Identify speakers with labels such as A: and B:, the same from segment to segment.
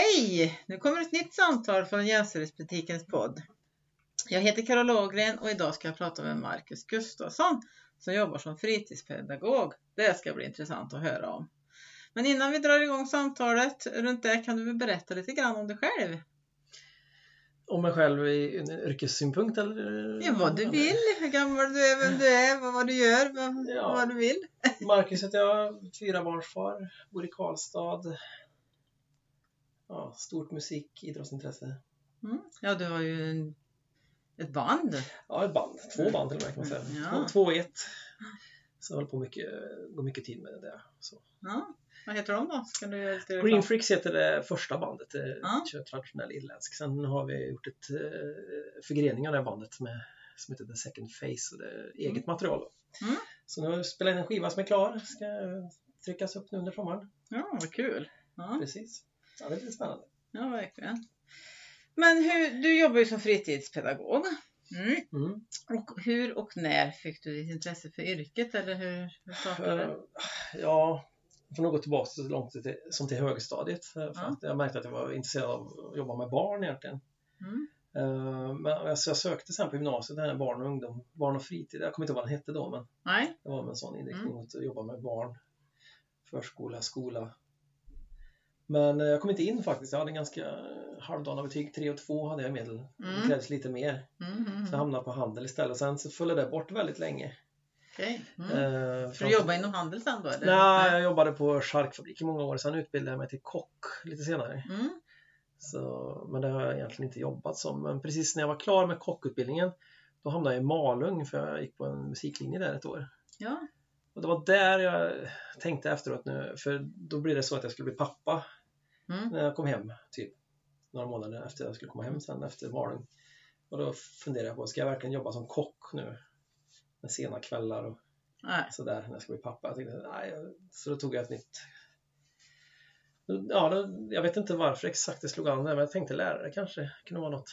A: Hej! Nu kommer ett nytt samtal från Jämställdhetspolitikens podd. Jag heter Carola Ågren och idag ska jag prata med Marcus Gustafsson som jobbar som fritidspedagog. Det ska bli intressant att höra om. Men innan vi drar igång samtalet runt det kan du väl berätta lite grann om dig själv?
B: Om mig själv i en yrkessynpunkt eller?
A: Ja, vad du vill, hur gammal du är, vem du är, vad- vad du gör, vad,
B: Ja.
A: vad du vill.
B: Marcus heter jag, fyrabarnsfar, bor i Karlstad. Ja, stort musik, idrottsintresse.
A: Mm. Ja, du har ju en, ett band.
B: Ja, ett band. Två band till och med kan man säga.
A: Mm. Ja.
B: Två, två i ett. Så jag håller på mycket, går mycket tid med det. Så.
A: Ja. Vad heter de då? Ska du göra lite reklam?
B: Green Freaks heter det första bandet. Det
A: Eh, Ja.
B: Kör traditionell irländsk. Sen har vi gjort ett eh, förgrening av det här bandet med, som heter The Second Face och det är eget
A: Mm.
B: material. Då.
A: Mm.
B: Så nu har vi spelat in en skiva som är klar. Ska tryckas upp nu under sommaren.
A: Ja, vad kul. Ja.
B: Precis. Ja, det är lite spännande.
A: Ja, verkligen. Men hur, du jobbar ju som fritidspedagog. Mm.
B: Mm.
A: Och hur och när fick du ditt intresse för yrket eller hur, hur startade det?
B: Eh, Ja, jag får nog gå tillbaka så långt till, som till högstadiet. eh, För
A: Ja.
B: att jag märkte att jag var intresserad av att jobba med barn egentligen.
A: Mm.
B: Eh, Men jag- så jag sökte sen på gymnasiet, den här barn och ungdom, barn och fritid. Jag kommer inte ihåg vad den hette då, men
A: Nej,
B: det var med en sån inriktning
A: Mm.
B: mot att jobba med barn. Förskola, skola. Men eh, jag kom inte in faktiskt. Jag hade en ganska eh, halvdana betyg. 3 och 2 hade jag i medel.
A: Mm.
B: Det krävdes lite mer.
A: mm, mm,
B: Så jag
A: mm.
B: hamnade på handel istället. Sen så föll det där bort väldigt länge.
A: okej. Mm.
B: Mm.
A: För du jobbar inom handel sen då? Eller?
B: Nej, jag jobbade på charkfabrik i många år. Sen utbildade jag mig till kock lite senare.
A: Mm.
B: Så, men det har jag egentligen inte jobbat som. Men precis när jag var klar med kockutbildningen då hamnade jag i Malung för jag gick på en musiklinje där ett år.
A: Ja.
B: Och det var där jag tänkte efteråt nu, för då blev det så att jag skulle bli pappa
A: Mm.
B: när jag kom hem, typ några månader efter jag skulle komma hem sen efter Malung. Och då funderade jag på, ska jag verkligen jobba som kock nu? Med sena kvällar och
A: Nej.
B: sådär när jag ska bli pappa. Jag tänkte, nej, så då tog jag ett nytt. Ja, då, jag vet inte varför exakt det slog an där, men jag tänkte lärare kanske kunde vara något.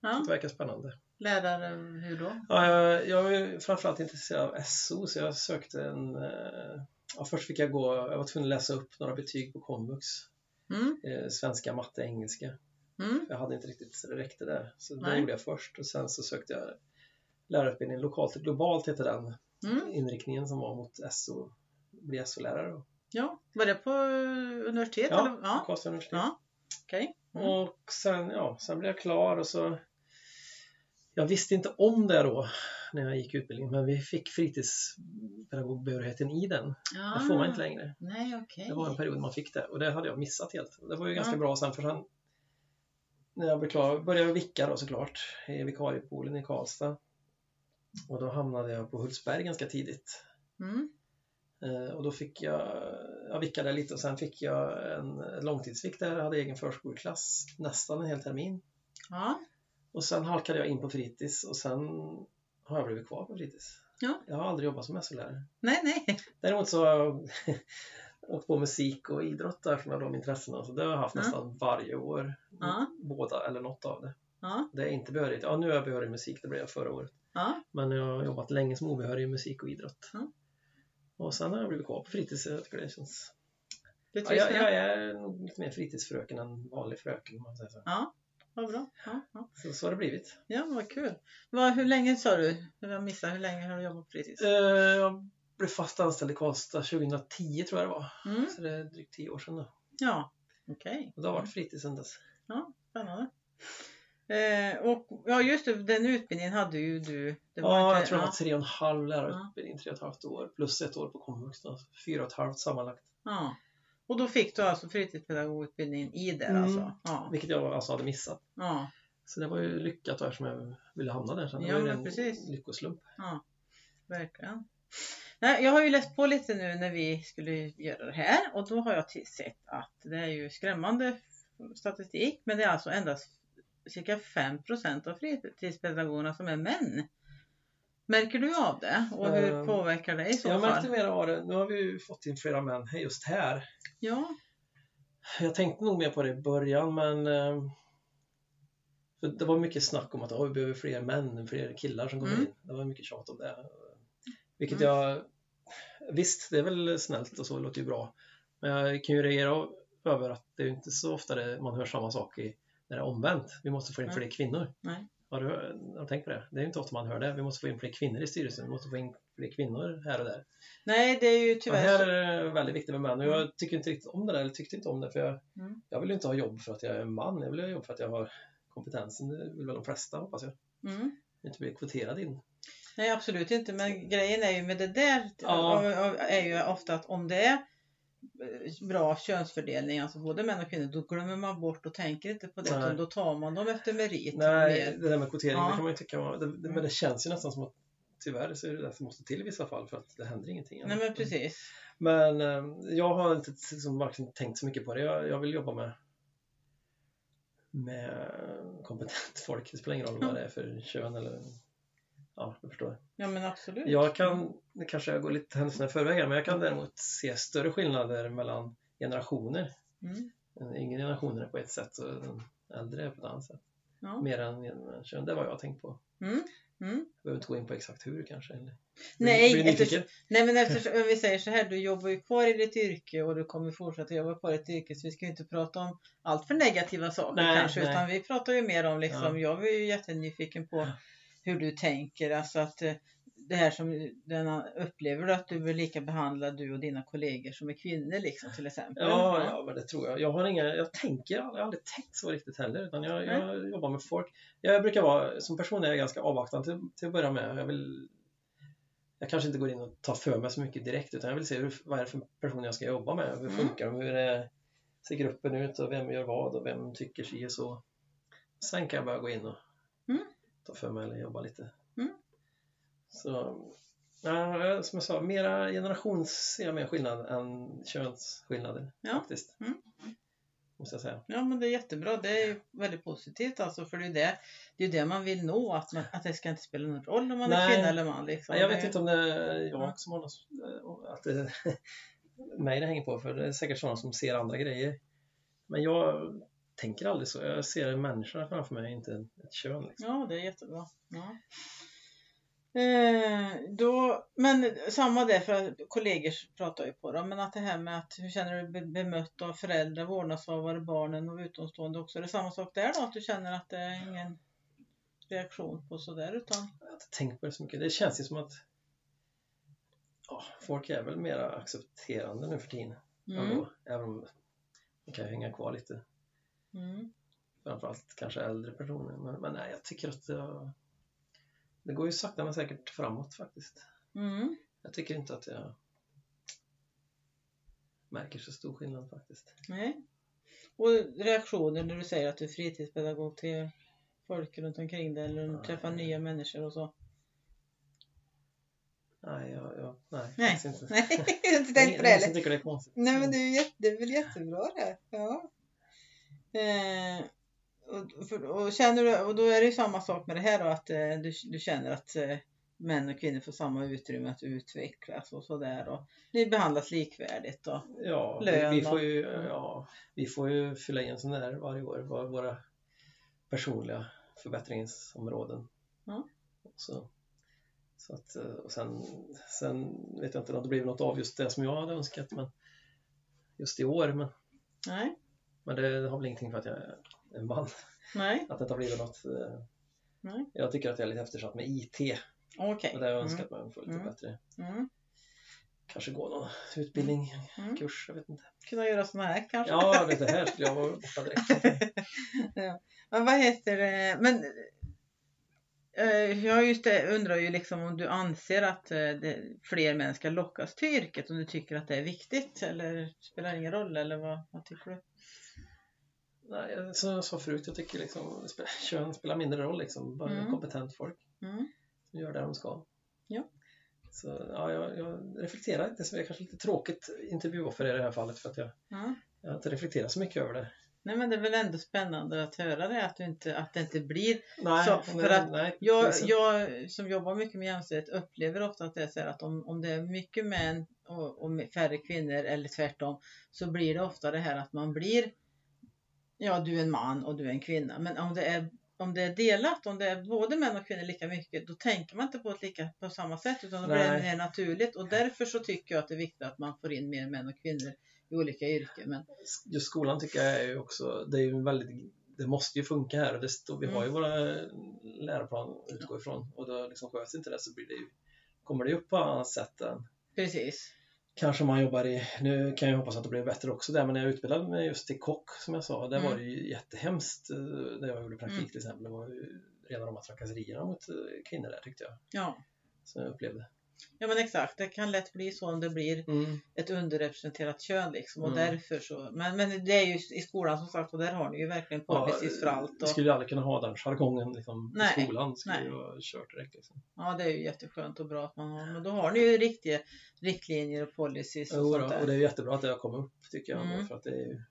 A: Ja.
B: Det verkar spännande.
A: Lärare, hur då?
B: Ja, jag, jag är ju framförallt intresserad av SO, så jag sökte en... eh, Ja, först fick jag gå, jag var tvungen att läsa upp några betyg på komvux.
A: Mm.
B: Eh, svenska, matte, engelska.
A: Mm.
B: Jag hade inte riktigt så det räckte där. Så det
A: Nej.
B: gjorde jag först och sen så sökte jag lärarutbildning lokalt och globalt heter den
A: Mm.
B: inriktningen som var mot SO, bli SO-lärare. då.
A: Ja. Var det på eh, universitet?
B: Ja,
A: eller? ja.
B: Karlstad universitet.
A: Ja. Okej. Mm.
B: Och sen, ja, sen blev jag klar och så jag visste inte om det då när jag gick utbildningen, men vi fick fritidspedagogbehörigheten i den.
A: Ja.
B: Det får man inte längre.
A: Nej, Ah, okej.
B: Det var en period man fick det och det hade jag missat helt. Det var ju ganska
A: Ja.
B: bra sen för sen när jag blev klar började jag vicka då såklart i vikariepoolen i Karlstad. Och då hamnade jag på Hultsberg ganska tidigt.
A: Mm.
B: Eh, Och då fick jag, jag vickade lite och sen fick jag en långtidsvick där, jag hade egen förskoleklass nästan en hel termin.
A: Ja.
B: Och sen halkade jag in på fritids och sen har jag blivit kvar på fritids.
A: Ja.
B: Jag har aldrig jobbat som SO-lärare.
A: Nej, nej.
B: Däremot så har jag åkt på musik och idrott där som är de intressena. Så det har jag haft
A: Ja.
B: nästan varje år.
A: Ja.
B: Båda eller något av det.
A: Ja.
B: Det är inte behörigt. Ja, nu är jag behörig i musik, det blev jag förra året.
A: Ja.
B: Men jag har jobbat länge som obehörig i musik och idrott.
A: Ja.
B: Och sen har jag blivit kvar på fritids. Jag tycker det känns
A: Du
B: Ja,
A: trivs
B: jag,
A: med det?
B: jag är nog lite mer fritidsfröken än vanlig fröken. Om man säger så.
A: Vad bra. Ja, ja.
B: Så, så har det blivit.
A: Ja, vad kul. Vad, hur länge sa du? Jag missade, hur länge har du jobbat på fritids?
B: Eh, Jag blev fast anställd i Karlstad 2010 tror jag det var.
A: Mm.
B: Så det är drygt 10 år sedan nu.
A: Ja, okej.
B: Och det har varit fritid sedan dess.
A: Spännande. Eh, och ja, just det, den utbildningen hade ju du. Det var
B: ja,
A: inte-
B: jag tror jag
A: ja,
B: har tre och en halv lärarutbildning, tre och ett halvt år plus ett år på komvux. då. Fyra och ett halvt sammanlagt.
A: ja. Och då fick du alltså fritidspedagogutbildningen i det
B: Mm.
A: alltså? Ja.
B: Vilket jag alltså hade missat.
A: ja.
B: Så det var ju lyckat då eftersom jag ville hamna där sen. Det
A: Ja,
B: var ju
A: men
B: en
A: precis.
B: lyckoslump.
A: Verkligen. Nej, jag har ju läst på lite nu när vi skulle göra det här och då har jag till- sett att det är ju skrämmande statistik men det är alltså endast cirka 5 av fritidspedagogerna som är män. Märker du av det och hur
B: Ehm,
A: påverkar det i så
B: Jag
A: fall?
B: märkte mer av det. Nu har vi ju fått in flera män just här.
A: Ja,
B: Jag tänkte nog mer på det i början men eh, för det var mycket snack om att "Åh, vi behöver fler män, fler killar som kommer
A: Mm.
B: in. Det var mycket tjat om det. Vilket
A: Mm.
B: jag, visst det är väl snällt och så, det låter ju bra. Men jag kan ju reagera över att det är ju inte så ofta det, man hör samma sak i, när det är omvänt. Vi måste få in
A: Nej.
B: fler kvinnor.
A: Mm. Nej.
B: Har du, har du tänkt på det? Det är ju inte ofta man hör det. Vi måste få in fler kvinnor i styrelsen. Vi måste få in fler kvinnor här och där.
A: Nej, det är ju
B: Men här
A: tyvärr så.
B: är det väldigt viktigt med män. Och jag tycker inte riktigt om det där. Eller tyckte inte om det. För jag,
A: Mm.
B: jag vill ju inte ha jobb för att jag är man. Jag vill ha jobb för att jag har kompetensen. Det vill väl de flesta hoppas jag.
A: Mm.
B: Inte bli kvoterad in.
A: Nej, absolut inte. Men grejen är ju med det där
B: Ja.
A: av- av- är ju ofta att om det är eh, bra könsfördelning, alltså både män och kvinnor, då glömmer man bort och tänker inte på det.
B: Nej.
A: utan Då tar man dem efter merit.
B: Nej,
A: mer.
B: det där med kvotering,
A: Ja.
B: det kan man ju tycka var, det, det, Men
A: Mm.
B: det känns ju nästan som att tyvärr så är det det som måste till i vissa fall för att det händer ingenting.
A: Nej men precis.
B: Men eh, jag har inte liksom, verkligen tänkt så mycket på det. Jag, jag vill jobba med med kompetent folk. Det spelar ingen roll vad det är för kön eller ja, du förstår.
A: Ja men absolut.
B: Jag kan, nu kanske jag går lite händelserna i förväg här, men jag kan däremot se större skillnader mellan generationer.
A: Mm.
B: Den yngre generationen är på ett sätt och den äldre är på ett annat sätt.
A: Ja.
B: Mer än genom kön, det var jag har tänkt på.
A: Mm. Mm.
B: Jag behöver inte gå in på exakt hur kanske. Eller?
A: Nej,
B: blir du nyfiken?
A: Nej men eftersom om vi säger så här, du jobbar ju kvar i ditt yrke och du kommer fortsätta jobba kvar i ditt yrke så vi ska ju inte prata om allt för negativa saker
B: Nej,
A: kanske
B: nej.
A: utan vi pratar ju mer om liksom, jag är ju jättenyfiken på hur du tänker, alltså att eh, det här som den upplever du att du blir lika behandlad du och dina kollegor som är kvinnor liksom till exempel.
B: Ja, ja, men det tror jag. Jag har inga, jag tänker, jag har aldrig tänkt så riktigt heller, utan
A: Nej.
B: jag, jag jobbar med folk. Jag brukar vara, som person är jag ganska avvaktande till, till att börja med. Jag vill, jag kanske inte går in och tar för mig så mycket direkt, utan jag vill se hur, vad är det för person jag ska jobba med? Hur
A: Mm.
B: funkar de? Hur är, ser gruppen ut och vem gör vad och vem tycker si och så? Sen kan jag bara gå in och
A: Mm.
B: ta för mig eller jobba lite.
A: Mm.
B: Så, ja, som jag sa, mera generations ser jag mer skillnad än könsskillnader
A: Ja.
B: faktiskt.
A: Mm.
B: Måste jag säga.
A: Ja men det är jättebra, det är ju väldigt positivt alltså för det är ju det, det, är ju det man vill nå, att, man, att det ska inte spela någon roll om man är
B: Nej.
A: kvinna eller man. Liksom.
B: Nej, jag
A: Det-
B: vet inte om det är
A: Ja.
B: jag som har något, eh, att det, mig det hänger på, för det är säkert sådana som ser andra grejer. Men jag tänker aldrig så. Jag ser människorna framför mig, inte ett kön. Liksom.
A: Ja, det är jättebra. Ja. Eh, då, men samma där, för kollegor pratar ju på det, men att det här med att hur känner du dig be- bemött av föräldrar, vårdnadshavare, barnen och utomstående också, är det samma sak där då? Att du känner att det är ingen reaktion på sådär utan?
B: Jag har inte tänkt på det så mycket. Det känns ju som att ja, folk är väl mer accepterande nu för tiden.
A: Mm.
B: Ändå, även om det kan ju hänga kvar lite.
A: Mm.
B: framförallt kanske äldre personer. Men, men nej, jag tycker att jag, det går ju sakta men säkert framåt faktiskt.
A: Mm.
B: Jag tycker inte att jag märker så stor skillnad faktiskt.
A: Nej. Och reaktioner när du säger att du är fritidspedagog till folk runt omkring dig eller när du träffar
B: Nej.
A: nya människor och så?
B: Nej, jag, jag, nej,
A: Nej,
B: faktiskt inte.
A: Nej, jag har inte
B: Det är
A: tänkt
B: ingen-
A: på det
B: det är
A: heller.
B: ingen som tycker det är konstigt.
A: Nej men det är, ju jätte, det är väl jättebra det. Ja. Eh, och, för, och, känner du, och då är det ju samma sak med det här då att eh, du, du känner att eh, män och kvinnor får samma utrymme att utvecklas och sådär och ni behandlas likvärdigt och
B: Ja,
A: Lön
B: vi, vi,
A: då?
B: får ju, ja, vi får ju fylla i en sån där varje år, vad våra personliga förbättringsområden.
A: Ja.
B: Så, så att, eh, och sen, sen vet jag inte om det blev något av just det som jag hade önskat men just i år. Men,
A: nej,
B: men det har väl ingenting för att jag är man,
A: nej,
B: att det inte har blivit något. eh,
A: Nej.
B: Jag tycker att jag är lite eftersatt med IT
A: okej.
B: och det har jag önskat mig att få lite
A: Mm.
B: bättre.
A: Mm, mm.
B: Kanske gå någon utbildning,
A: Mm.
B: kurs, jag vet inte.
A: Kunna göra sådana här kanske.
B: Ja, det det här skulle jag vara borta direkt.
A: Men vad heter det? Men eh, jag just det, undrar ju liksom om du anser att eh, det, fler män ska lockas till yrket, om du tycker att det är viktigt eller spelar ingen roll eller vad, vad tycker du?
B: Nej, jag- som jag sa förut, jag tycker liksom, det spelar- kön spelar mindre roll. Liksom. Bara
A: Mm.
B: kompetent folk
A: Mm.
B: som gör det de ska.
A: Ja.
B: Så ja, jag, jag reflekterar inte, så det är kanske lite tråkigt intervjuoffer i det här fallet för att jag,
A: Ja.
B: jag har inte reflekterat så mycket över det.
A: Nej men det är väl ändå spännande att höra det, att, du inte, att det inte blir.
B: Nej,
A: Så, för att
B: nej,
A: Jag,
B: precis.
A: jag som jobbar mycket med jämställdhet upplever ofta att det är så här att om, om det är mycket män och, och färre kvinnor eller tvärtom så blir det ofta det här att man blir ja du är en man och du är en kvinna. Men om det är, om det är delat, om det är både män och kvinnor lika mycket, då tänker man inte på det lika, på samma sätt utan då blir det
B: Nej.
A: mer naturligt. Och därför så tycker jag att det är viktigt att man får in mer män och kvinnor i olika yrken. Men
B: Just skolan tycker jag är ju också, det är ju en väldigt det måste ju funka här och det, står- vi har ju våra läroplan att utgå ifrån och då liksom sköts inte det så blir det ju, kommer det ju upp på annat sätt än
A: precis.
B: kanske man jobbar i, nu kan jag hoppas att det blir bättre också där, men när jag utbildade mig just till kock som jag sa, där
A: Mm.
B: var det ju jättehemskt eh, när jag gjorde praktik
A: Mm.
B: till exempel. Det var ju rena rama trakasserierna mot eh, kvinnor där tyckte jag,
A: Ja.
B: som jag upplevde.
A: ja, men exakt. Det kan lätt bli så om det blir
B: Mm.
A: ett underrepresenterat kön liksom. Och
B: Mm.
A: därför så, men, men det är ju i skolan som sagt och där har ni ju verkligen policies för allt.
B: Vi
A: Och,
B: eh, skulle ju aldrig kunna ha den jargongen liksom,
A: Nej,
B: i skolan, skulle
A: nej.
B: ju vara kört direkt. Liksom.
A: ja, det är ju jätteskönt och bra att man har. Men då har ni ju riktiga riktlinjer och policies och
B: Jo, då,
A: sånt där.
B: och det är jättebra att det har kommit upp tycker jag,
A: Mm.
B: för att det är ju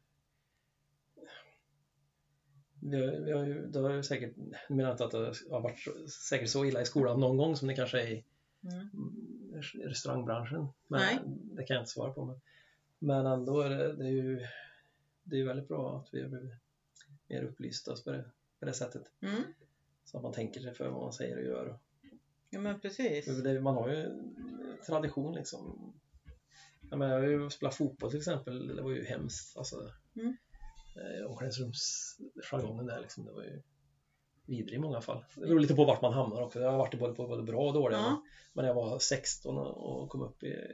B: vi har, vi har ju, det har ju säkert, jag menar inte att det har varit så- säkert så illa i skolan någon gång som det kanske är i
A: Mm.
B: restaurangbranschen. Men
A: Nej.
B: Det kan jag inte svara på. Men, men ändå är det, det är ju det är ju väldigt bra att vi har blivit mer upplysta på det, på det sättet.
A: Mm.
B: Så att man tänker sig för vad man säger och gör.
A: Ja, men precis.
B: För Det, man har ju tradition liksom. Jag, menar, jag har ju spelat fotboll till exempel, det var ju hemskt. Alltså,
A: Mm.
B: eh, Omklädningsrumsjargongen där liksom, det var ju vidrig i många fall. Det beror lite på vart man hamnar också. Jag har varit i både, på både bra och dåliga.
A: Ja.
B: Men jag var 16 och och kom upp i,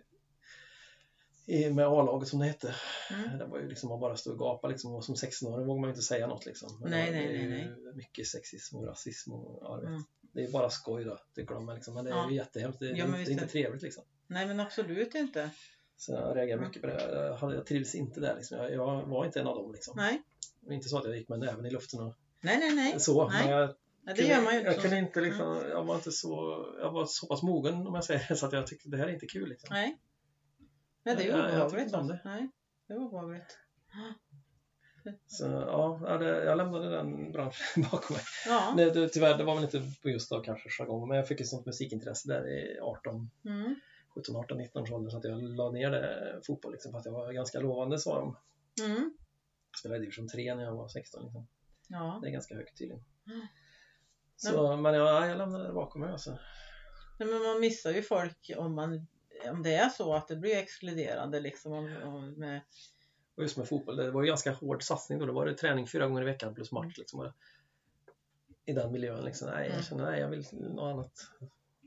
B: i med A-laget som det hette.
A: Mm.
B: Det var ju liksom man bara stod och gapade liksom och som 16-åring vågar man ju inte säga något liksom.
A: Nej,
B: det,
A: nej,
B: det är
A: nej,
B: ju mycket sexism och rasism och ja, du vet.
A: Mm.
B: Det är ju bara skoj då, tycker de. men Liksom. Men det är
A: Ja.
B: ju jättehemskt. Det, är
A: Ja, men
B: inte-
A: visst
B: det är
A: är
B: inte
A: det.
B: trevligt liksom.
A: Nej, men absolut inte.
B: Så jag reagerar
A: Mm.
B: mycket på det. Jag, hade- jag trivs inte där liksom. Jag, jag var inte en av dem liksom.
A: Nej,
B: Det var Inte så att jag gick med näven i luften och
A: nej, nej. nej.
B: så.
A: Nej.
B: Men jag,
A: Ja, det gör man ju Mm.
B: jag
A: inte.
B: kunde
A: som-
B: inte liksom, jag var inte så, jag var så pass mogen om jag säger det, så att jag tyckte det här är inte kul liksom.
A: Nej. Nej, det är
B: Jag- jag tyckte
A: obehagligt.
B: inte om det.
A: alltså. Nej, det är obehagligt.
B: Så ja, ja, det- jag lämnade den branschen bakom mig.
A: Ja.
B: Nej, det, tyvärr, det var väl inte på just då kanske jargong, men jag fick ett sånt musikintresse där i 18,
A: Mm.
B: 17, 18, 19 års ålder så att jag la ner det fotboll liksom, för att jag var ganska lovande sa de.
A: Mm.
B: Jag spelade i division 3 när jag var 16 liksom.
A: Ja.
B: Det är ganska högt tydligen.
A: Mm.
B: Så, men jag, jag lämnade det bakom mig alltså.
A: Nej, men man missar ju folk om, man, om det är så att det blir exkluderande liksom. Om, om med,
B: Och just med fotboll, det var ju ganska hård satsning då. Det var det träning fyra gånger i veckan plus match liksom. Och I den miljön liksom. Nej,
A: Mm.
B: jag känner nej, jag vill något annat.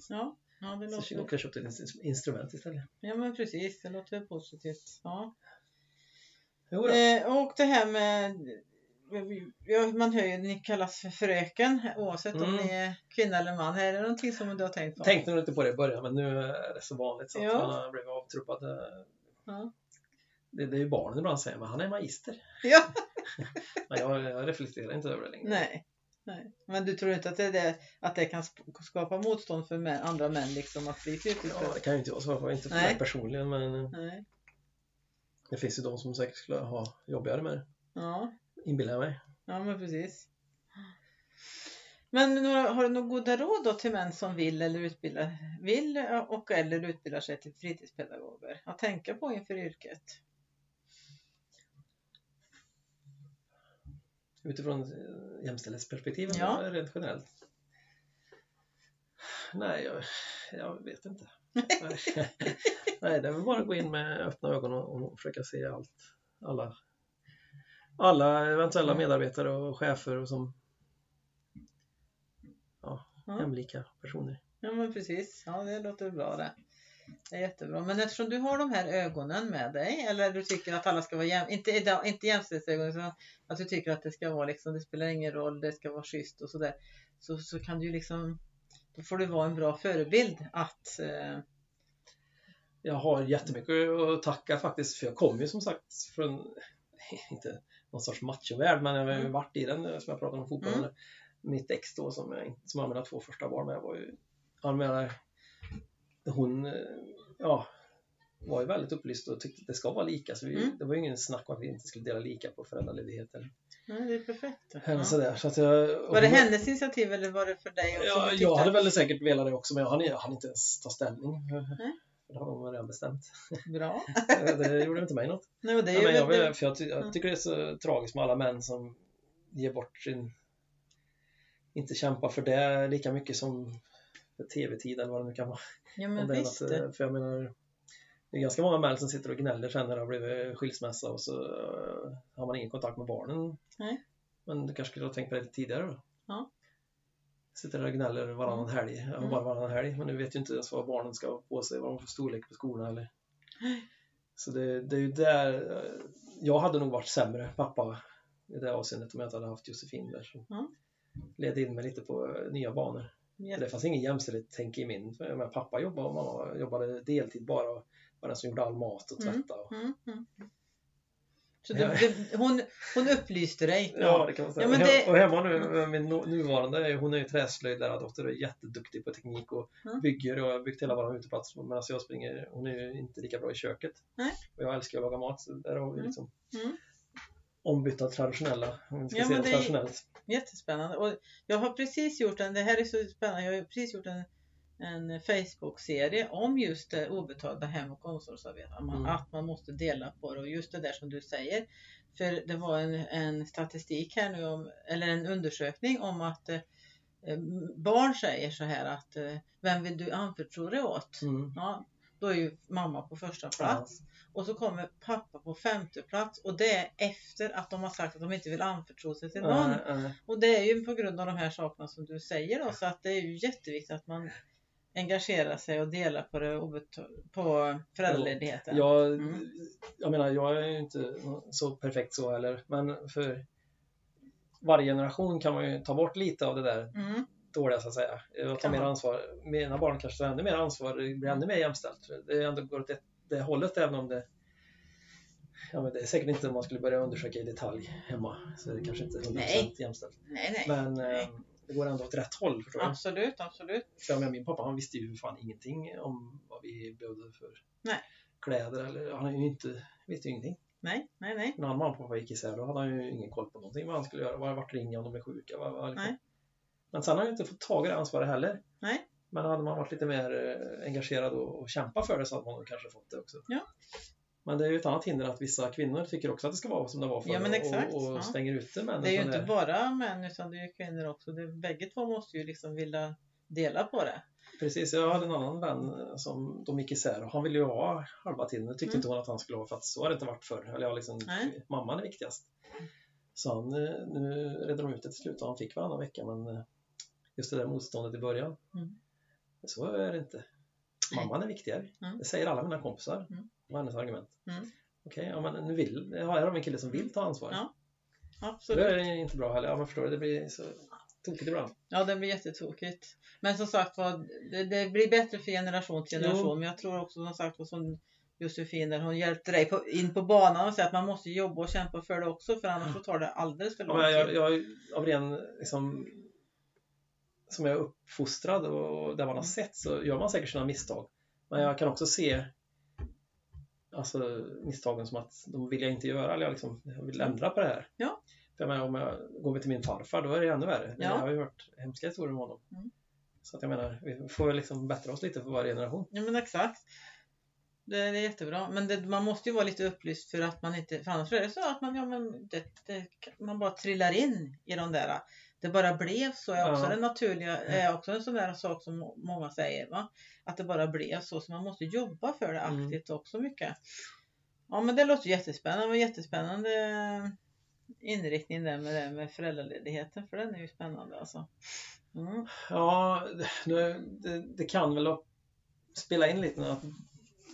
A: ja. ja, det
B: Så jag
A: låter...
B: kanske köpte ett instrument istället.
A: Ja, men precis. Det låter väl positivt. Ja.
B: Jo, då.
A: Eh, och det här med... Ja, man hör ju ni kallas för fröken oavsett om
B: Mm.
A: ni är kvinna eller man. Är det någonting som du har tänkt på?
B: tänkte nog inte på det i början men nu är det så vanligt så att
A: Ja.
B: man har blivit avtruppad.
A: Ja.
B: Det, det är ju barnen ibland säger men han är magister.
A: Ja.
B: Men jag, jag reflekterar inte över det längre.
A: Nej. Nej. Men du tror inte att det, är det, att det kan sk- skapa motstånd för män, andra män liksom att bli
B: Ja,
A: fritidsfröken?
B: det kan ju inte jag svara på, inte för
A: Nej.
B: mig personligen men
A: Nej.
B: det finns ju de som säkert skulle ha jobbigare med det,
A: Ja.
B: inbillar jag mig.
A: ja, men precis. Men några, har du några goda råd då till män som vill eller utbildar, vill och eller utbildar sig till fritidspedagoger att tänka på inför yrket?
B: Utifrån eh, jämställdhetsperspektiv
A: Ja.
B: eller rent generellt. Nej, jag, jag vet inte. Nej, det är väl bara att gå in med öppna ögon och, och försöka se allt. Alla, alla eventuella
A: Mm.
B: medarbetare och chefer och som ja,
A: Ja.
B: jämlika personer.
A: Ja, men precis. Ja, det låter bra det. Det är jättebra. Men eftersom du har de här ögonen med dig, eller du tycker att alla ska vara jäm... inte, idag- inte jämställdhetsögon, utan att du tycker att det ska vara liksom, det spelar ingen roll, det ska vara schysst och sådär, så, så kan du ju liksom, då får du vara en bra förebild att, eh,
B: Jag har jättemycket att tacka faktiskt för jag kom ju som sagt från, inte någon sorts machovärld, men jag har ju
A: Mm.
B: varit i den eh, som jag pratade om fotbollen.
A: Mm.
B: Mitt ex då som jag, inte- som jag hade mina två första barn med var ju, han menar, hon eh, ja, var ju väldigt upplyst och tyckte att det ska vara lika. Så vi,
A: Mm.
B: Det var ju ingen snack om att vi inte skulle dela lika på föräldraledighet eller,
A: nej, det är perfekt.
B: eller
A: Ja.
B: sådär. Så att jag, och
A: Var det
B: hon-
A: hennes initiativ eller var det för dig också?
B: Ja,
A: Du
B: jag
A: tyckte
B: hade
A: att-
B: väl säkert velat det också men jag hann, jag hann inte ens ta ställning.
A: Nej.
B: Det hade hon redan bestämt.
A: Bra.
B: Det gjorde inte mig något.
A: Nej, men det är
B: Nej,
A: ju
B: men jag,
A: väldigt-
B: vill, för jag, ty- jag tycker det är så tragiskt med alla män som ger bort sin... Inte kämpar för det lika mycket som för tv-tid eller vad det nu kan vara.
A: ja,
B: Om
A: men
B: det är
A: visst.
B: något, eh, för jag menar, Det är ganska många män som sitter och gnäller sen när det har blivit skilsmässa och så eh, har man ingen kontakt med barnen.
A: Nej.
B: Men du kanske skulle ha tänkt på det lite tidigare då?
A: Ja.
B: Sitter där och gnäller varannan helg, ja,
A: Mm.
B: bara varannan helg, men du vet ju inte ens vad barnen ska ha på sig, vad de får storlek på skorna eller. Så det, det är ju där, eh, jag hade nog varit sämre pappa i det avseendet om jag inte hade haft Josefin där. som
A: Ja.
B: Ledde in mig lite på eh, nya banor.
A: Ja.
B: Det fanns ingen jämställdhet tänk i min. för jag menar, pappa jobbade och mamma jobbade deltid bara och var den som gjorde all mat och
A: Mm.
B: tvätta. Och...
A: Mm, mm. Så det, det, hon, hon upplyste dig?
B: Ja, det kan man säga.
A: Ja, men
B: Och he-
A: det-
B: Och hemma nu, min nu- nuvarande, hon är ju träslöjdlärardotter och är jätteduktig på teknik och
A: Mm.
B: bygger och har byggt hela vår uteplats medan jag springer. Hon är ju inte lika bra i köket.
A: Nej.
B: Och jag älskar att laga mat. Så där har vi
A: Mm.
B: liksom
A: Mm.
B: ombytta traditionella, om vi ska
A: Ja,
B: se
A: men
B: det
A: det är-
B: traditionellt.
A: Jättespännande. Och jag har precis gjort en, det här är så spännande, jag har ju precis gjort en, en Facebook-serie om just det obetalda hem och omsorgsarbete. Att man-
B: Mm.
A: Att man måste dela på det och just det där som du säger. För det var en, en statistik här nu, om, eller en undersökning om att eh, eh, barn säger så här att eh, vem vill du anförtro dig åt?
B: Mm.
A: Ja, då är ju mamma på första plats och så kommer pappa på femte plats och det är efter att de har sagt att de inte vill anförtro sig till någon.
B: Äh, äh.
A: Och det är ju på grund av de här sakerna som du säger då, så att det är ju jätteviktigt att man engagerar sig och delar på, det obet- på föräldraledigheten.
B: Jag,
A: Mm.
B: jag menar, jag är ju inte så perfekt så heller, men för varje generation kan man ju ta bort lite av det där
A: Mm,
B: dåliga så att säga. Och ta
A: Kan
B: mer
A: man.
B: ansvar. Mina barn kanske tar ännu mer ansvar, det blir ännu mer jämställt. För Det är ändå går åt det, det hållet även om det Ja, men det är säkert inte om man skulle börja undersöka i detalj hemma, så det kanske inte är 100%
A: Nej.
B: jämställt.
A: nej, nej.
B: Men
A: Nej.
B: eh, det går ändå åt rätt håll, förstår du?
A: Absolut, absolut.
B: För jag menar, min pappa han visste ju fan ingenting om vad vi behövde för
A: Nej.
B: kläder. Eller, han är ju inte, visste ju ingenting.
A: Nej, nej, nej.
B: När mamma och pappa gick isär då hade han ju ingen koll på någonting. Vad han skulle göra, var- vart ringa om de blev sjuka. Var, var, liksom.
A: Nej.
B: Men sen har han ju inte fått tag i det ansvaret heller.
A: Nej.
B: Men hade man varit lite mer eh, engagerad och, och kämpat för det så hade man nog kanske fått det också.
A: Ja.
B: Men det är ju ett annat hinder att vissa kvinnor tycker också att det ska vara som det var förr
A: Ja, men exakt,
B: och, och
A: ja.
B: stänger ute män.
A: Det är ju
B: från
A: inte bara män utan det är ju kvinnor också. Det, bägge två måste ju liksom vilja dela på det.
B: Precis, jag hade en annan vän eh, som de gick isär och han ville ju ha halva tiden. Det tyckte
A: Mm.
B: inte hon att han skulle ha för att så har det inte varit förr. Eller jag liksom,
A: Nej.
B: mamman är viktigast. Så han, eh, nu redde de ut det till slut och han fick varannan vecka men eh, just det där motståndet i början.
A: Mm.
B: Så är det inte. Mamman är viktigare.
A: Mm.
B: Det säger alla mina kompisar.
A: Mm.
B: Det var hennes argument.
A: Mm.
B: Okej, ja, men nu vill, jag har en kille som vill ta ansvar.
A: Ja,
B: Då
A: Absolut.
B: är det inte bra heller. Ja, men förstår du, det blir så tokigt ibland.
A: Ja, det blir jättetokigt. Men som sagt var, det, det blir bättre för generation till generation.
B: Jo.
A: Men jag tror också som sagt var som Josefin där, hon hjälpte dig på, in på banan och säger att man måste jobba och kämpa för det också för annars så tar det alldeles för
B: Mm. Ja,
A: lång
B: men jag,
A: tid.
B: jag, av ren, liksom, som jag är uppfostrad och där man har sett så gör man säkert sina misstag. Men jag kan också se alltså, misstagen som att de vill jag inte göra, eller jag, liksom, jag vill ändra på det här.
A: Ja.
B: För jag menar, om jag går till min farfar, då är det ännu värre.
A: Ja.
B: Jag har ju hört hemska historier om honom.
A: Mm.
B: Så att jag menar, vi får väl liksom bättra oss lite för varje generation.
A: Ja, men exakt. Det, det är jättebra. Men det, man måste ju vara lite upplyst för att man inte, för annars är det så att man, ja, men det, det, man bara trillar in i de där. Det bara blev så är också
B: Ja.
A: den naturliga, är också en sån där sak som må- många säger va. Att det bara blev så, så man måste jobba för det
B: Mm.
A: aktivt också mycket. Ja men det låter jättespännande, och jättespännande inriktning där med, det, med föräldraledigheten för den är ju spännande alltså. Mm.
B: Ja, nu, det, det kan väl upp- spela in lite nu att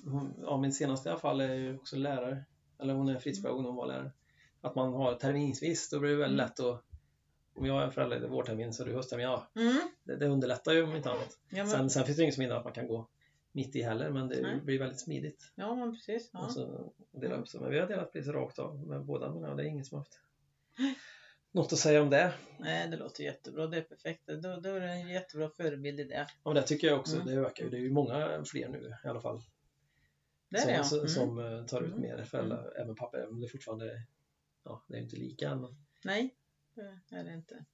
B: hon- ja, min senaste i alla fall är ju också lärare. Eller hon är fritidspedagog när hon var lärare. Att man har terminsvis, då blir det väldigt
A: Mm.
B: lätt att om jag är förälder i vårtermin så är du hösttermin, ja.
A: Mm.
B: Det, det underlättar ju om inte annat.
A: Ja, men,
B: Sen, sen finns det ju inget som hindrar att man kan gå mitt i heller, men det
A: Mm. Nej.
B: blir väldigt smidigt.
A: ja men precis. Ja.
B: Och så dela upp sig. Men vi har delat precis rakt av med båda, men ja, det är ingen som har haft något att säga om det.
A: Nej, det låter jättebra. Det är perfekt. Då, då är det en jättebra förebild i det.
B: Ja, men det tycker jag också,
A: Mm.
B: det ökar ju. Det är ju många fler nu i alla fall.
A: Där
B: som,
A: är jag.
B: som,
A: Mm.
B: som eh, tar ut
A: Mm.
B: mer föräldrar, även pappa, även om det fortfarande är- ja, det är ju inte lika än.
A: Nej, det är det inte.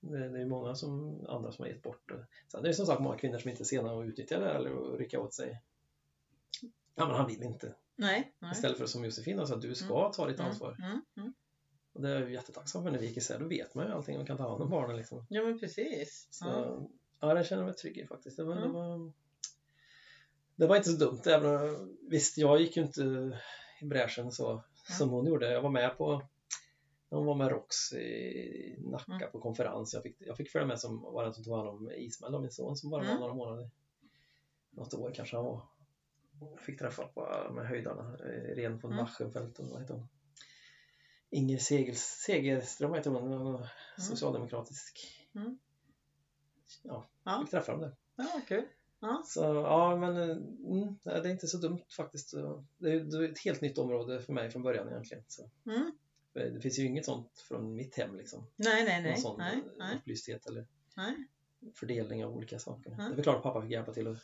B: Det, det är ju många som, andra som har gett bort det. Sen är det ju som sagt många kvinnor som inte är sena att utnyttja det eller att rycka åt sig. Ja, men han vill inte.
A: Nej. nej.
B: Istället för som Josefin alltså, att du ska ta ditt ansvar.
A: Mm, mm, mm.
B: Och det är jag ju jättetacksam för när vi gick isär. Då vet man ju allting och kan ta hand om barnen. Liksom.
A: Ja, men precis.
B: Så,
A: Ja.
B: ja. det känner jag mig trygg i faktiskt. Det var, det
A: Mm.
B: var det var inte så dumt. Även, om- visst, jag gick ju inte i bräschen så som hon gjorde. Jag var med på när hon var med Rox i Nacka
A: Mm.
B: på konferens. Jag fick, jag fick följa med som var den som tog hand om Ismael, då, min son, som bara var
A: Mm.
B: några månader. Något år kanske han var. Jag fick träffa på de här höjdarna, eh, Ren von
A: Mm.
B: Machenfeldt och vad heter hon? Inger Segel, Segerström heter hon, hon var socialdemokratisk.
A: Mm.
B: Ja,
A: Ja.
B: fick träffa dem där.
A: Ja, kul.
B: Så ja, men eh, mm, nej, det är inte så dumt faktiskt. Det är, det är ett helt nytt område för mig från början egentligen. Så.
A: Mm.
B: Eh, Det finns ju inget sånt från mitt hem liksom.
A: Nej, nej,
B: Någon
A: nej.
B: sån
A: nej,
B: eh,
A: nej,
B: upplysthet eller
A: nej.
B: fördelning av olika saker.
A: Nej.
B: Det är klart att pappa fick hjälpa till att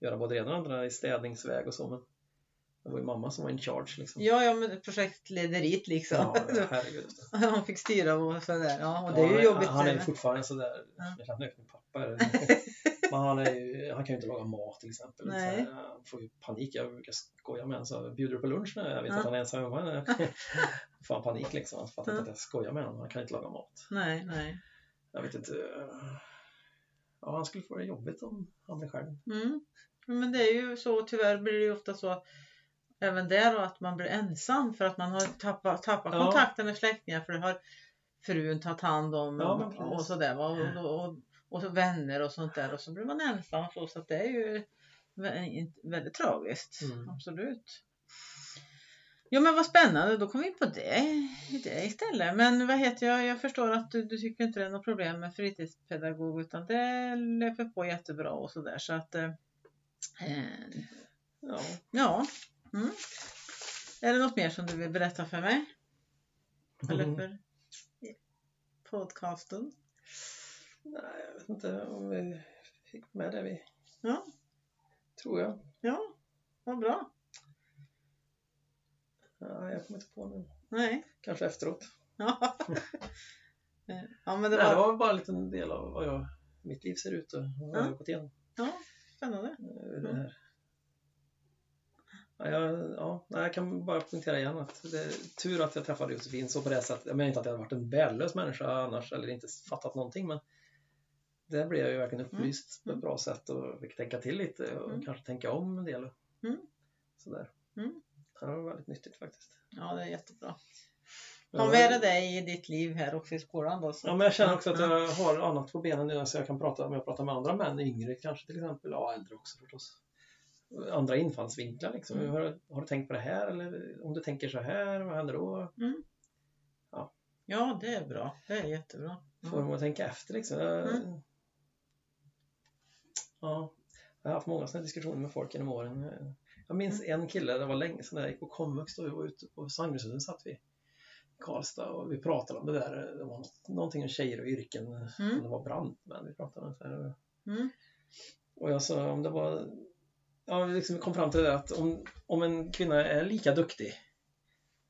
B: göra både det ena och det andra i städningsväg och så, men det var ju mamma som var in charge liksom.
A: Ja, ja, men projektlederiet liksom.
B: ja herregud.
A: Han fick styra och sådär. Ja, och det är ju
B: Ja,
A: jobbigt.
B: Han, han är ju
A: det.
B: fortfarande sådär,
A: Ja.
B: jag kan inte med pappa. är det. Men han, är ju, han kan ju inte laga mat till exempel.
A: Nej.
B: Så han får ju panik. Jag brukar skoja med honom. Så bjuder du på lunch nu? Jag vet
A: Ja.
B: att han är ensam hemma. får han panik liksom. Han fattar
A: Ja.
B: inte att jag skojar med honom. Han kan inte laga mat.
A: Nej, nej.
B: Jag vet inte. eh, Ja, han skulle få det jobbigt om han blev själv.
A: Mm. Men det är ju så, tyvärr blir det ju ofta så även där då, att man blir ensam för att man har tappat, tappat
B: Ja.
A: kontakten med släktingar för det har frun tagit hand om
B: Ja, men
A: och,
B: precis.
A: och sådär va. Och, och, och, och så vänner och sånt där och så blir man ensam så, så att det är ju vä- väldigt tragiskt.
B: Mm.
A: Absolut. Ja men vad spännande, då kom vi in på det, i det istället. Men vad heter jag, jag förstår att du, du tycker inte det är något problem med fritidspedagog utan det löper på jättebra och sådär så att eh, eh,
B: Ja.
A: ja. Mm. Är det något mer som du vill berätta för mig? Eller
B: Mm.
A: för podcasten?
B: Nej, jag vet inte om vi fick med det vi...
A: Ja.
B: Tror jag.
A: Ja, vad bra.
B: Ja, jag kommer inte på nu.
A: Nej.
B: Kanske efteråt.
A: Ja, Eh, ja men det
B: Nej, det
A: var
B: var bara en liten del av vad jag, mitt liv ser ut och vad jag
A: Ja.
B: har gått igenom.
A: spännande.
B: ur det här. Ja, jag, ja, nej, jag kan bara poängtera igen att det är tur att jag träffade Josefin så på det sättet. Jag menar inte att jag hade varit en värdelös människa annars eller inte fattat någonting men där blev jag ju verkligen upplyst på ett bra sätt och fick tänka till lite och
A: Mm.
B: kanske tänka om en del. och
A: Mm.
B: Sådär.
A: Mm.
B: Det var väldigt nyttigt faktiskt.
A: Ja, det är jättebra.
B: Ja,
A: Ta med dig det i ditt liv här också i skolan då. Så.
B: Ja, men jag känner också att jag har annat på benen nu så jag kan prata, om jag pratar med andra män, yngre kanske till exempel, ja äldre också förstås. Andra infallsvinklar liksom.
A: Mm.
B: Har, har du tänkt på det här eller om du tänker så här, vad händer då?
A: Ja, det är bra. Det är jättebra.
B: Får dem att tänka efter liksom.
A: Mm.
B: Ja, jag har haft många sådana diskussioner med folk genom åren. Jag minns
A: Mm.
B: en kille, det var länge sedan, jag gick på komvux då, vi var ute på Sandgrundshusen satt vi i Karlstad och vi pratade om det där, det var något- någonting om tjejer och yrken, om det var brandmän vi pratade om. Så här.
A: Mm.
B: Och jag sa om det var... Ja, vi liksom kom fram till det att om, om en kvinna är lika duktig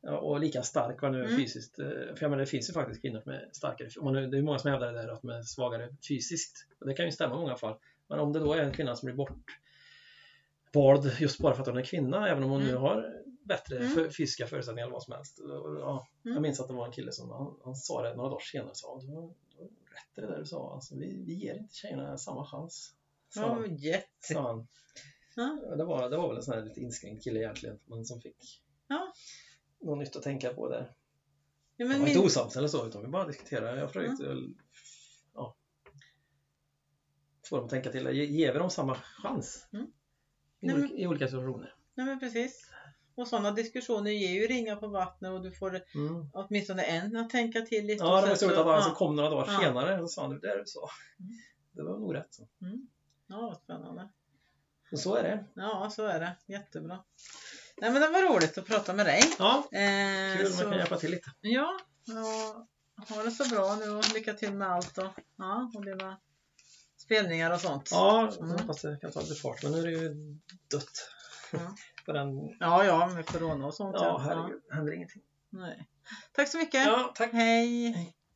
B: ja, och lika stark vad nu är
A: Mm.
B: fysiskt. eh, För jag menar, det finns ju faktiskt kvinnor som är starkare. Om Man, nu- det är många som hävdar det där att de är svagare fysiskt. Och det kan ju stämma i många fall. Men om det då är en kvinna som blir bortvald just bara för att hon är kvinna, även om hon
A: Mm.
B: nu har bättre
A: Mm.
B: för, fysiska förutsättningar eller vad som helst. Och, ja,
A: Mm.
B: Jag minns att det var en kille som han, han sa det några dagar senare. Sa, du har du har rätt i det där du sa. Alltså, vi, vi ger inte tjejerna samma chans. sa
A: Ja,
B: han
A: jätte.
B: sa han.
A: Ja.
B: Ja, Det, var, det var väl en sån här lite inskränkt kille egentligen, men som fick
A: Ja.
B: något nytt att tänka på där.
A: Ja,
B: Vi
A: men
B: var inte
A: min...
B: osams eller så, utan vi bara diskuterade. Jag försökte ja, få dem att tänka till. Ge, ger vi dem samma chans?
A: Mm.
B: I,
A: Nej,
B: olika, I olika situationer.
A: Nej, men precis. Och sådana diskussioner ger ju ringar på vattnet och du får
B: Mm.
A: åtminstone en att tänka till lite.
B: Ja,
A: och
B: det var
A: sen
B: så
A: så-
B: att han som
A: ja.
B: kom några dagar
A: Ja.
B: senare och sa han, det där du sa.
A: Mm.
B: Det var nog rätt. Så.
A: ja, vad spännande.
B: Och så är det.
A: Ja, så är det. Jättebra. Nej, men det var roligt att prata med dig.
B: Ja,
A: Eh,
B: kul om
A: så- Mm.
B: man kan hjälpa till lite.
A: Ja, och ha det så bra nu och lycka till med allt och, ja, och dina spelningar och sånt.
B: Ja, jag
A: Mm.
B: hoppas det kan ta lite fart. Men nu är det ju dött
A: Ja.
B: på den
A: ja, ja, med corona och sånt.
B: Ja, herregud. Händer ingenting.
A: Nej. Tack så mycket.
B: Ja, tack.
A: Hej.
B: Hej.